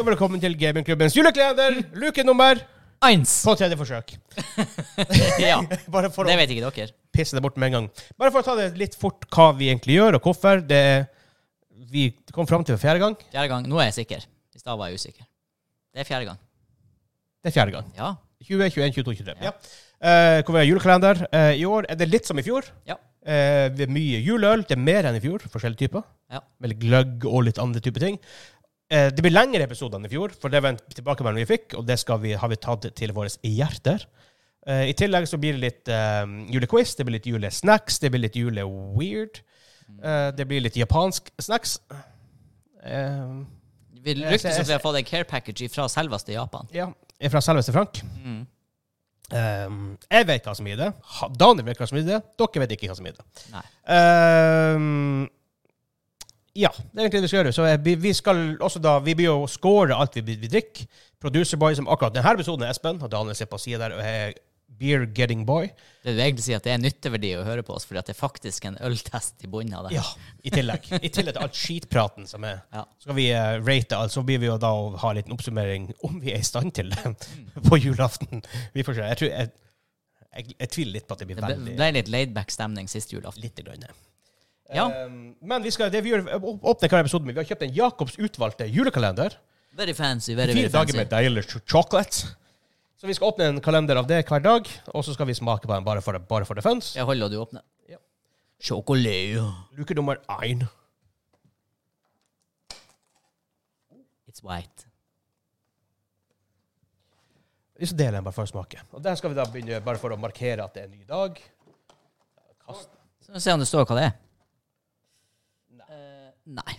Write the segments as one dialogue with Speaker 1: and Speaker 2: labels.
Speaker 1: og velkommen til gamingklubbens julekalender, luke nummer
Speaker 2: Eins!
Speaker 1: på tredje forsøk.
Speaker 2: Ja,
Speaker 1: Bare for
Speaker 2: det
Speaker 1: å
Speaker 2: vet ikke dere.
Speaker 1: pisse det bort med en gang. Bare for å ta det litt fort hva vi egentlig gjør, og hvorfor. Det vi kom fram til for fjerde gang.
Speaker 2: Fjerde gang. Nå er jeg sikker. I stad var jeg usikker. Det er fjerde gang.
Speaker 1: Det er fjerde gang.
Speaker 2: Ja.
Speaker 1: 20, 21, 22, 23.
Speaker 2: Ja.
Speaker 1: Ja. Eh, hvor vi har julekalender. Eh, I år er det litt som i fjor.
Speaker 2: Ja.
Speaker 1: Eh, det er mye juleøl. Det er mer enn i fjor. Forskjellige typer.
Speaker 2: Ja.
Speaker 1: Med litt gløgg og litt andre typer ting. Eh, det blir lengre episoder enn i fjor, for det var en tilbakemelding vi fikk, og det skal vi, har vi tatt til våre hjerter. Eh, I tillegg så blir det litt eh, julequiz, det blir litt julesnacks, det blir litt juleweird.
Speaker 2: Mm.
Speaker 1: Eh, det blir litt japansk snacks. Eh,
Speaker 2: Vi ryktes at vi har fått en care package fra selveste Japan.
Speaker 1: ja, fra selveste Frank.
Speaker 2: Mm.
Speaker 1: Ehm, jeg vet hva som er i det. Ha- Daniel vet hva som er i det. Dere vet ikke hva som er i det.
Speaker 2: Nei.
Speaker 1: Ehm, ja, det er egentlig det vi skal gjøre. Så jeg, vi- vi skal også da, vi blir jo å score alt vi, vi drikker. Producer Boy, som akkurat denne episoden er Espen, og Daniel sitter på sida der og er Beer Getting Boy.
Speaker 2: Det du egentlig sier, at det er nytteverdi å høre på oss, fordi at det er faktisk en øltest i bunnen av det.
Speaker 1: Ja, i tillegg. I tillegg til alt skitpraten som er.
Speaker 2: Ja.
Speaker 1: Så skal vi eh, rate alt, så blir vi jo da å ha en liten oppsummering om vi er i stand til det på julaften. Vi får se. Jeg, tror, jeg, jeg, jeg tviler litt på at det blir
Speaker 2: Det ble,
Speaker 1: veldig
Speaker 2: ble litt laidback stemning sist julaften.
Speaker 1: Litt. Grann.
Speaker 2: Ja.
Speaker 1: Um, men vi skal det vi gjør, å- åpne hver episode med. Vi har kjøpt en Jacobs utvalgte julekalender.
Speaker 2: Very fancy, very,
Speaker 1: Fire
Speaker 2: very
Speaker 1: dager
Speaker 2: fancy.
Speaker 1: med deilig ch- chocolate. Så vi skal åpne en kalender av det hver dag, og så skal vi smake på den bare for, bare for the funs.
Speaker 2: Jeg holder og du åpner.
Speaker 1: Ja.
Speaker 2: Sjokolade.
Speaker 1: Luke nummer én.
Speaker 2: It's white.
Speaker 1: Vi skal dele den bare for å smake. Og der skal vi da begynne bare for å markere at det er en ny dag. Kast.
Speaker 2: Så Se om det står hva det er. Eh, Nei.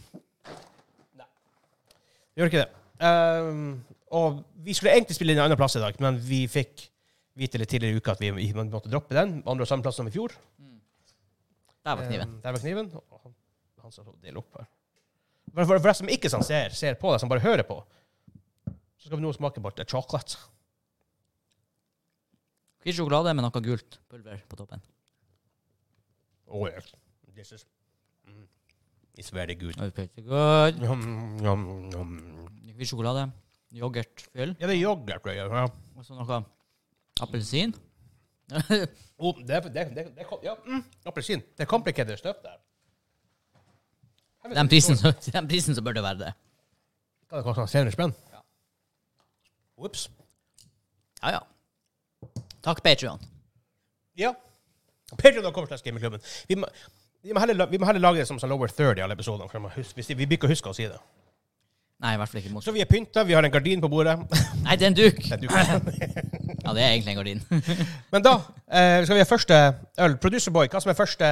Speaker 1: Gjør ikke det. Um, og vi skulle egentlig spille inn en annen plass i dag, men vi fikk vite litt tidligere i uka at vi, vi måtte droppe den. Andre og samme plass som i fjor.
Speaker 2: Der var kniven.
Speaker 1: Eh, Der var kniven. Og han, han skal dele opp her. For, for, for deg som ikke sånn ser, ser på deg, som bare hører på, så skal vi nå smake bort et chocolate.
Speaker 2: Hvit sjokolade med noe gult pulver på toppen.
Speaker 1: Oh, yeah. This is mm. It's very good.
Speaker 2: Oh, pretty good.
Speaker 1: Yum, yum, yum.
Speaker 2: Hvit sjokolade, yoghurtfyll
Speaker 1: Ja, det er yoghurt. tror jeg, Ja.
Speaker 2: og så noe appelsin.
Speaker 1: Oh, det, er- det, det, det, kom- ja, mm, appelsin. Det er komplikerte støv der.
Speaker 2: den, prisen, så- den prisen så bør det være det.
Speaker 1: Kan det koste 300 spenn? Ops.
Speaker 2: Ja, ja. Takk, Patrion.
Speaker 1: Ja. Patreon.com slags gamingklubben. Vi må, vi, må heller, la- vi må heller lage det som sånn lower third i alle episodene. for jeg må hus- hvis- Vi blir ikke å huske å si det.
Speaker 2: Nei, i hvert fall ikke mot.
Speaker 1: Så vi er pynta, vi har en gardin på bordet.
Speaker 2: Nei, det er en duk!
Speaker 1: Det er duket.
Speaker 2: Ja, det er egentlig en gardin.
Speaker 1: Men da eh, skal vi ha første øl. Producer Boy, hva som er første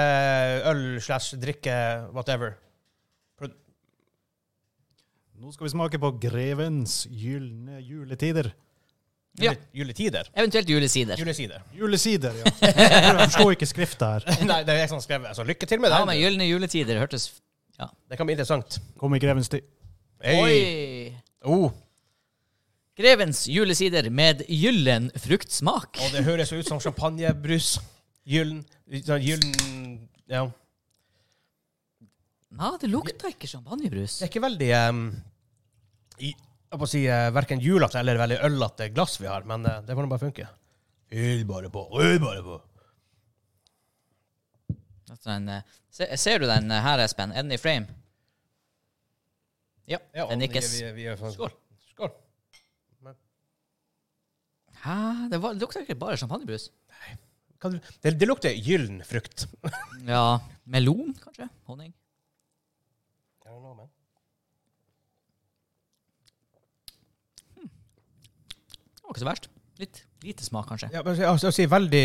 Speaker 1: øl slash drikke whatever?
Speaker 3: Nå skal vi smake på Grevens gylne juletider.
Speaker 2: Ja.
Speaker 1: Juletider?
Speaker 2: Eventuelt julesider.
Speaker 1: Julesider.
Speaker 3: Julesider, ja. Jeg forstår ikke skrifta her.
Speaker 1: Nei, det er jeg som skrev det. Så lykke til med
Speaker 2: Ja,
Speaker 1: det.
Speaker 2: men gylne juletider hørtes
Speaker 1: Det kan bli interessant.
Speaker 3: Kom i grevens tid.
Speaker 1: Hey.
Speaker 2: Oi!
Speaker 1: Oh.
Speaker 2: Grevens julesider med gyllen fruktsmak.
Speaker 1: Og det høres jo ut som champagnebrus. Gyllen sånn Gyllen Ja.
Speaker 2: Ja, det lukta ikke champagnebrus.
Speaker 1: Det er ikke veldig um, i, Jeg må si uh, verken julete eller veldig ølete glass vi har, men eh, det får nå bare funke. Øl bare på, øl bare på.
Speaker 2: Altså, den, eh, se, ser du den eh, her, Espen? Er den i frame? Ja,
Speaker 1: Ja, og
Speaker 2: den nikkes.
Speaker 1: vi- vi- vi gjør sånn-
Speaker 2: Skål.
Speaker 1: Skål.
Speaker 2: Hæ? Det, var, det lukta ikke bare champagnebrus.
Speaker 1: Kan du, det, det lukter gyllen frukt.
Speaker 2: Ja, melon, kanskje? Honning? Det var ikke så verst. Litt lite smak, kanskje.
Speaker 1: Ja, men jeg, altså, jeg sier veldig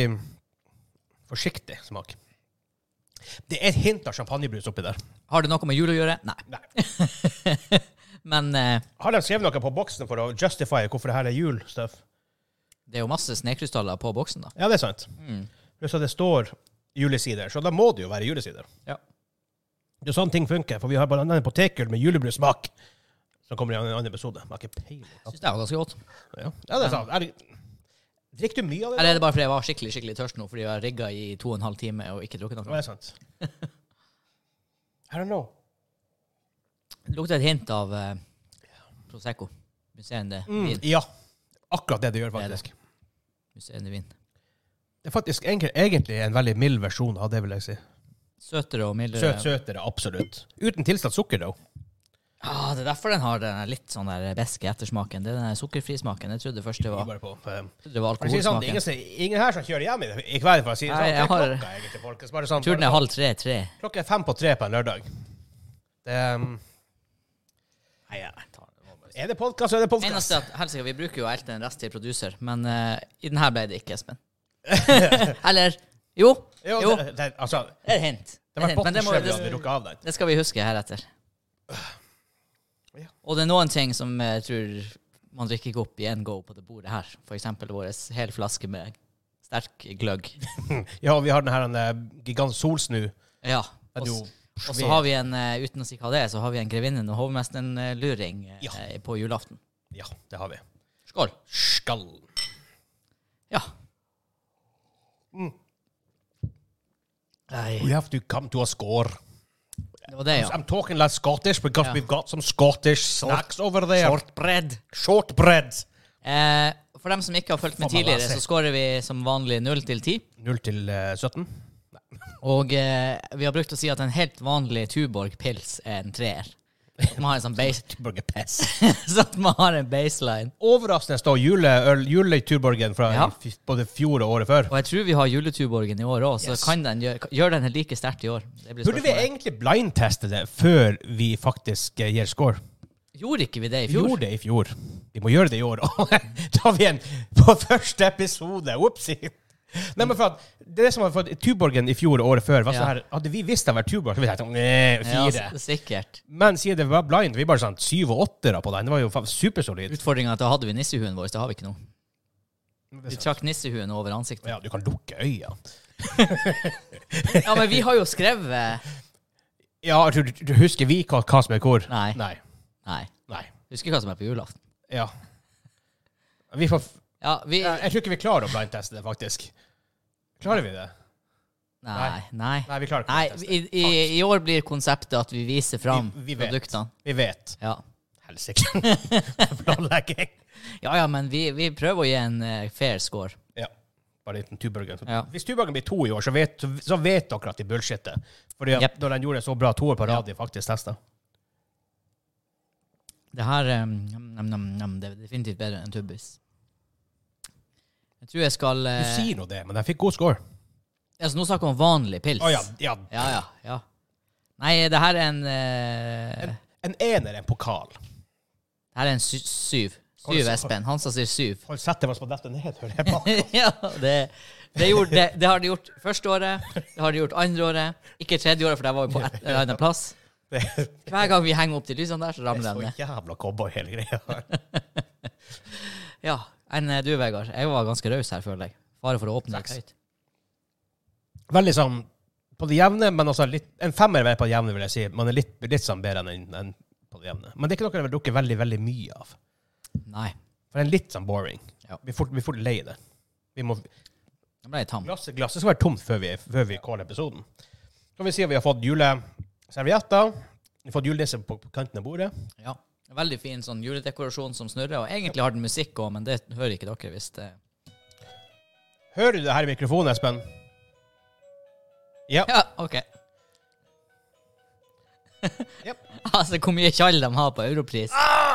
Speaker 1: forsiktig smak. Det er et hint av champagnebrus oppi der.
Speaker 2: Har det noe med jul å gjøre? Nei. Men eh,
Speaker 1: Har de skrevet noe på boksen for å justify hvorfor det her er julstuff?
Speaker 2: det er jo masse snekrystaller på boksen, da.
Speaker 1: Ja, det er sant.
Speaker 2: Mm.
Speaker 1: Pluss at det står julesider, så da må det jo være julesider.
Speaker 2: Ja.
Speaker 1: Det er sånn ting funker, for vi har blant annet en potetgull med julebrussmak som kommer i en annen episode. Jeg har ikke peiling.
Speaker 2: Syns det var ganske godt.
Speaker 1: Ja, ja det er sant. Er det, drikker du mye av det?
Speaker 2: Eller er det bare fordi jeg var skikkelig skikkelig tørst nå fordi jeg har rigga i to og en halv time og ikke drukket
Speaker 1: Ja,
Speaker 2: noe?
Speaker 1: det er sant. I don't know.
Speaker 2: Det lukter et hint av eh, Prosecco. Musserende
Speaker 1: Mm,
Speaker 2: vin.
Speaker 1: ja. Akkurat det det gjør,
Speaker 2: Det er det.
Speaker 1: faktisk.
Speaker 2: Musserende vin.
Speaker 1: Det er faktisk egentlig, egentlig en veldig mild versjon av det, vil jeg si.
Speaker 2: Søtere og mildere.
Speaker 1: Søt, søtere, absolutt. Uten tilsatt sukker, da.
Speaker 2: Ja, det er derfor den har den litt sånn der beske ettersmaken. Det er den der sukkerfri smaken. Jeg trodde først det
Speaker 1: Vi
Speaker 2: var,
Speaker 1: bare på. eh,
Speaker 2: trodde det var
Speaker 1: For å si det sånn, det er
Speaker 2: alkoholsmaken.
Speaker 1: ingen, som- ingen her som kjører hjem i, i kveld, for å si det sånn.
Speaker 2: Nei,
Speaker 1: Det er
Speaker 2: jeg har-
Speaker 1: klokka, egentlig, folkens. Bare sånn,
Speaker 2: Turen
Speaker 1: bare
Speaker 2: er
Speaker 1: sånn.
Speaker 2: halv tre-tre.
Speaker 1: Klokka er fem på tre på en lørdag. Det, um,
Speaker 2: Nei, jeg tar det. var bare-
Speaker 1: er det podkast, så er det podkast.
Speaker 2: Eneste at, helsike, Vi bruker jo alltid en rest til produser, men eh, i den her ble det ikke, Espen. Eller Jo.
Speaker 1: Jo,
Speaker 2: Jo.
Speaker 1: Det, det, altså,
Speaker 2: Det er et hint.
Speaker 1: det
Speaker 2: Det er
Speaker 1: var
Speaker 2: et hint,
Speaker 1: godt
Speaker 2: men det,
Speaker 1: å
Speaker 2: må,
Speaker 1: skjønne
Speaker 2: det,
Speaker 1: at vi rukket av den.
Speaker 2: det skal vi huske heretter.
Speaker 1: Ja.
Speaker 2: Og det er noen ting som jeg tror man drikker ikke opp i en go på det bordet her. For eksempel vår hel flaske med sterk gløgg.
Speaker 1: Ja, og vi har den her den, eh, gigant solsnu.
Speaker 2: Ja.
Speaker 1: Den er
Speaker 2: Og,
Speaker 1: jo
Speaker 2: s- og
Speaker 1: svær.
Speaker 2: så har vi en, eh, uten å si hva det er, så har vi en grevinnen og hovmesteren-luring eh,
Speaker 1: Ja.
Speaker 2: på julaften.
Speaker 1: Ja, det har vi.
Speaker 2: Skål.
Speaker 1: Skall.
Speaker 2: Ja.
Speaker 1: Mm. Oh,
Speaker 2: Nei,
Speaker 1: We have to come to a score.
Speaker 2: det var det, ja.
Speaker 1: I'm talking like Scottish because
Speaker 2: Ja.
Speaker 1: we've got some Scottish snacks over there.
Speaker 2: Shortbread.
Speaker 1: Shortbread.
Speaker 2: Eh, for dem som ikke har fulgt med
Speaker 1: Faen, altså. jeg
Speaker 2: tidligere,
Speaker 1: leser.
Speaker 2: så scorer vi som vanlig 0 til 10.
Speaker 1: 0 til eh, 17.
Speaker 2: Og eh, vi har brukt å si at en helt vanlig Tuborg pils er en treer. At man har en sånn base,
Speaker 1: Burger Pass.
Speaker 2: så at man har en baseline.
Speaker 1: Overraskende står juleøl, juleturborgen fra
Speaker 2: Ja.
Speaker 1: f- både fjor og året før.
Speaker 2: Og jeg tror vi har juletuborgen i år òg, så
Speaker 1: Yes.
Speaker 2: kan den gjøre gjør den like sterkt i år. Det blir
Speaker 1: Burde vi
Speaker 2: spørsmålet.
Speaker 1: egentlig blindteste det før vi faktisk eh, gir score?
Speaker 2: Gjorde ikke vi det i
Speaker 1: Vi
Speaker 2: fjor?
Speaker 1: gjorde det i fjor. Vi må gjøre det i år. da har vi en på første episode. Whoopsie. Nei, men for at det som var for at Tuborgen i fjor og året før, var sånn
Speaker 2: Ja.
Speaker 1: her, hadde vi visst det var Tuborg, så ville jeg tenkt "Nei,
Speaker 2: Ja, altså,
Speaker 1: fire.
Speaker 2: s- sikkert.
Speaker 1: Men siden det var blind, vi bare sånn syv og åttere på den. Det var jo faen supersolid.
Speaker 2: Utfordringa er at da hadde vi nissehuen vår, det har vi ikke nå. Vi
Speaker 1: Det er sant.
Speaker 2: trakk nissehuen over ansiktet.
Speaker 1: Ja, du kan lukke øya.
Speaker 2: Ja, men vi har jo skrevet
Speaker 1: Ja, du, du, du husker vi hva, hva som er hvor?
Speaker 2: Nei.
Speaker 1: Nei.
Speaker 2: Nei.
Speaker 1: Nei.
Speaker 2: Husker ikke hva som er på julaften.
Speaker 1: Ja. Vi får f-
Speaker 2: Ja, vi
Speaker 1: jeg, jeg tror ikke vi klarer å blindteste det, faktisk. Klarer vi det?
Speaker 2: Nei. Nei.
Speaker 1: Nei, vi klarer ikke å
Speaker 2: Nei,
Speaker 1: blindteste det.
Speaker 2: i, i, i år blir konseptet at vi viser fram
Speaker 1: Vi- vi vet.
Speaker 2: produktene.
Speaker 1: Vi vet.
Speaker 2: Ja.
Speaker 1: Helsike. Planlegging.
Speaker 2: ja, ja, men vi, vi prøver å gi en eh, fair score.
Speaker 1: Ja. Bare en liten Tuborgen.
Speaker 2: Ja.
Speaker 1: Hvis Tuborgen blir to i år, så vet, så vet dere at de bullshitter. Fordi at
Speaker 2: Jepp.
Speaker 1: når den gjorde det så bra to år på rad, de faktisk testa.
Speaker 2: Det her eh, nam, nam, nam, nam, det er definitivt bedre enn Tubbis. Jeg tror jeg skal
Speaker 1: Du
Speaker 2: eh,
Speaker 1: sier nå det, men den fikk god score.
Speaker 2: altså, Nå snakker vi om vanlig pils.
Speaker 1: Å ja, ja.
Speaker 2: ja, ja, ja. Nei, det her er en eh,
Speaker 1: En ener er en pokal.
Speaker 2: Det her er en sy syv.
Speaker 1: Hold
Speaker 2: Syv,
Speaker 1: så-
Speaker 2: Espen. Hansa sier syv.
Speaker 1: Hold setter oss på dette ned, hører jeg på.
Speaker 2: ja, det, det, gjorde, det, det har de gjort første året, det har de gjort andre året, ikke tredje året, for der var vi på et eller annet plass.
Speaker 1: Det
Speaker 2: Hver gang vi henger opp de lysene der, så
Speaker 1: er
Speaker 2: ramler
Speaker 1: så
Speaker 2: den ned.
Speaker 1: jævla cowboy, hele greia.
Speaker 2: Ja. Enn eh, du, Vegard? Jeg var ganske raus her, føler jeg. Bare for å åpne litt
Speaker 1: Seks.
Speaker 2: høyt.
Speaker 1: Veldig sånn på det jevne, men altså litt, en femmer er på det jevne, vil jeg si. Man er litt, litt sånn bedre enn en- enn på det jevne. Men det er ikke noe jeg vil drukke veldig, veldig mye av.
Speaker 2: Nei.
Speaker 1: For den er litt sånn boring.
Speaker 2: Ja.
Speaker 1: Vi får, vi får lei det. Vi må,
Speaker 2: Nå ble jeg tam.
Speaker 1: glasset, glasset skal være tomt før vi, før vi caller episoden. Så kan vi si at vi har fått juleservietter. Vi har fått julenisse på på kanten av bordet.
Speaker 2: Ja. Veldig fin sånn juledekorasjon som snurrer, og egentlig har den musikk òg, men det hører ikke dere hvis det
Speaker 1: Hører du det her i mikrofonen, Espen? Ja.
Speaker 2: Ja, OK.
Speaker 1: Jep.
Speaker 2: altså, hvor mye tjall de har på Europris.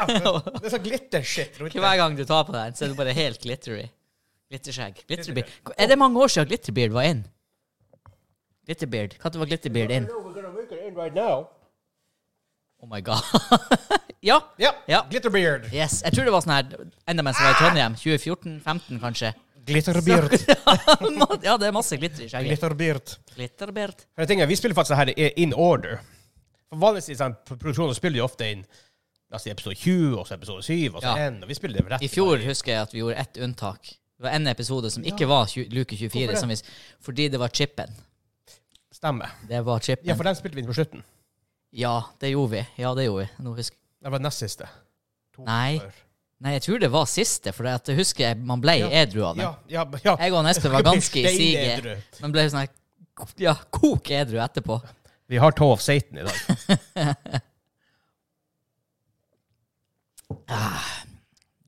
Speaker 1: Det er sånn glittershit rundt
Speaker 2: Hver gang du tar på den, så er du bare helt glittery. Glitterskjegg. Glitterbeard. Er det mange år siden Glitterbeard var in? Glitterbeard. Når var Glitterbeard in? Oh my god. ja.
Speaker 1: Ja.
Speaker 2: Ja.
Speaker 1: Glitterbeard.
Speaker 2: Yes. Jeg tror det var sånn her enda mens jeg var i Trondheim. 2014-15, kanskje.
Speaker 1: Glitterbeard.
Speaker 2: ja, det er masse glitter i skjegget.
Speaker 1: Glitterbeard.
Speaker 2: Glitterbeard.
Speaker 1: For jeg tenker, Vi spiller faktisk det her i- in order. For Vanligvis i sånn produksjoner spiller de ofte inn la oss si episode 20, og så episode 7, og så
Speaker 2: Ja.
Speaker 1: 1. Og vi spiller det rett
Speaker 2: I fjor husker jeg at vi gjorde ett unntak. Det var en episode som ikke var tju- luke 24,
Speaker 1: Hvorfor
Speaker 2: som vi, s- fordi det var chipen.
Speaker 1: Stemmer.
Speaker 2: Det var chipen.
Speaker 1: Ja,
Speaker 2: Ja,
Speaker 1: for den spilte vi inn på slutten.
Speaker 2: det gjorde vi. Ja, det gjorde vi. Nå husker
Speaker 1: Det var nest siste. To
Speaker 2: Nei.
Speaker 1: før.
Speaker 2: Nei, jeg tror det var siste, for at jeg husker jeg- man ble
Speaker 1: Ja.
Speaker 2: edru av den.
Speaker 1: Ja, ja, ja.
Speaker 2: Jeg og Espen var ganske i siget,
Speaker 1: Steinedru.
Speaker 2: men ble sånn her ja, kok edru etterpå.
Speaker 1: Vi har Toe of Satan i dag.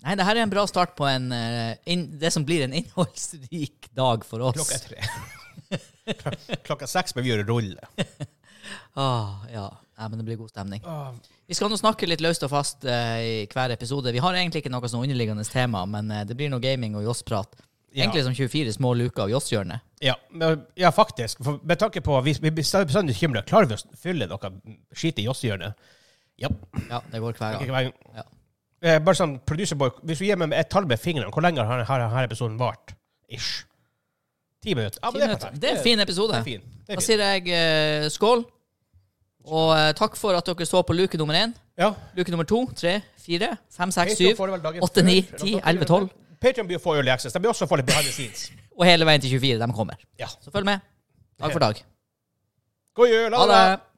Speaker 2: Nei, det her er en bra start på en, eh, inn- det som blir en innholdsrik dag for oss.
Speaker 1: Klokka er tre. Klokka seks bør vi gjøre rulle.
Speaker 2: Ah, ja. Nei, men det blir god stemning. Vi skal nå snakke litt løst og fast eh, i hver episode. Vi har egentlig ikke noe sånn underliggende tema, men eh, det blir noe gaming og Joss-prat.
Speaker 1: Ja.
Speaker 2: Egentlig som 24 små luker av Joss-hjørnet.
Speaker 1: Ja, men- ja, faktisk. For med tanke på Vi, vi blir stadig- bestandig bekymra. Klarer vi å fylle noe skit i Joss-hjørnet? Ja.
Speaker 2: Ja, det går hver
Speaker 1: Ikke
Speaker 2: gang.
Speaker 1: hver gang.
Speaker 2: Ja.
Speaker 1: Eh, Bare sånn, producer boy, hvis du gir meg et tall med fingrene, hvor lenge har denne, denne episoden vart? Ish. Ti minutter. Ja, men det
Speaker 2: Fin
Speaker 1: er
Speaker 2: episode.
Speaker 1: perfekt.
Speaker 2: Det er en fin
Speaker 1: Det
Speaker 2: episode.
Speaker 1: er fin. Det er
Speaker 2: Da
Speaker 1: fin.
Speaker 2: sier jeg eh, skål. Og eh, takk for at dere så på luke nummer én,
Speaker 1: Ja.
Speaker 2: luke nummer to, tre, fire, fem, seks,
Speaker 1: Patreon
Speaker 2: syv
Speaker 1: får det vel dagen
Speaker 2: åtte,
Speaker 1: før.
Speaker 2: ni, ti, elleve, tolv.
Speaker 1: Patreon blir å få early access. De blir også å få litt behind the scenes.
Speaker 2: og hele veien til 24. De kommer.
Speaker 1: Ja.
Speaker 2: Så følg med. Dag for dag.
Speaker 1: God jul!
Speaker 2: Ha det!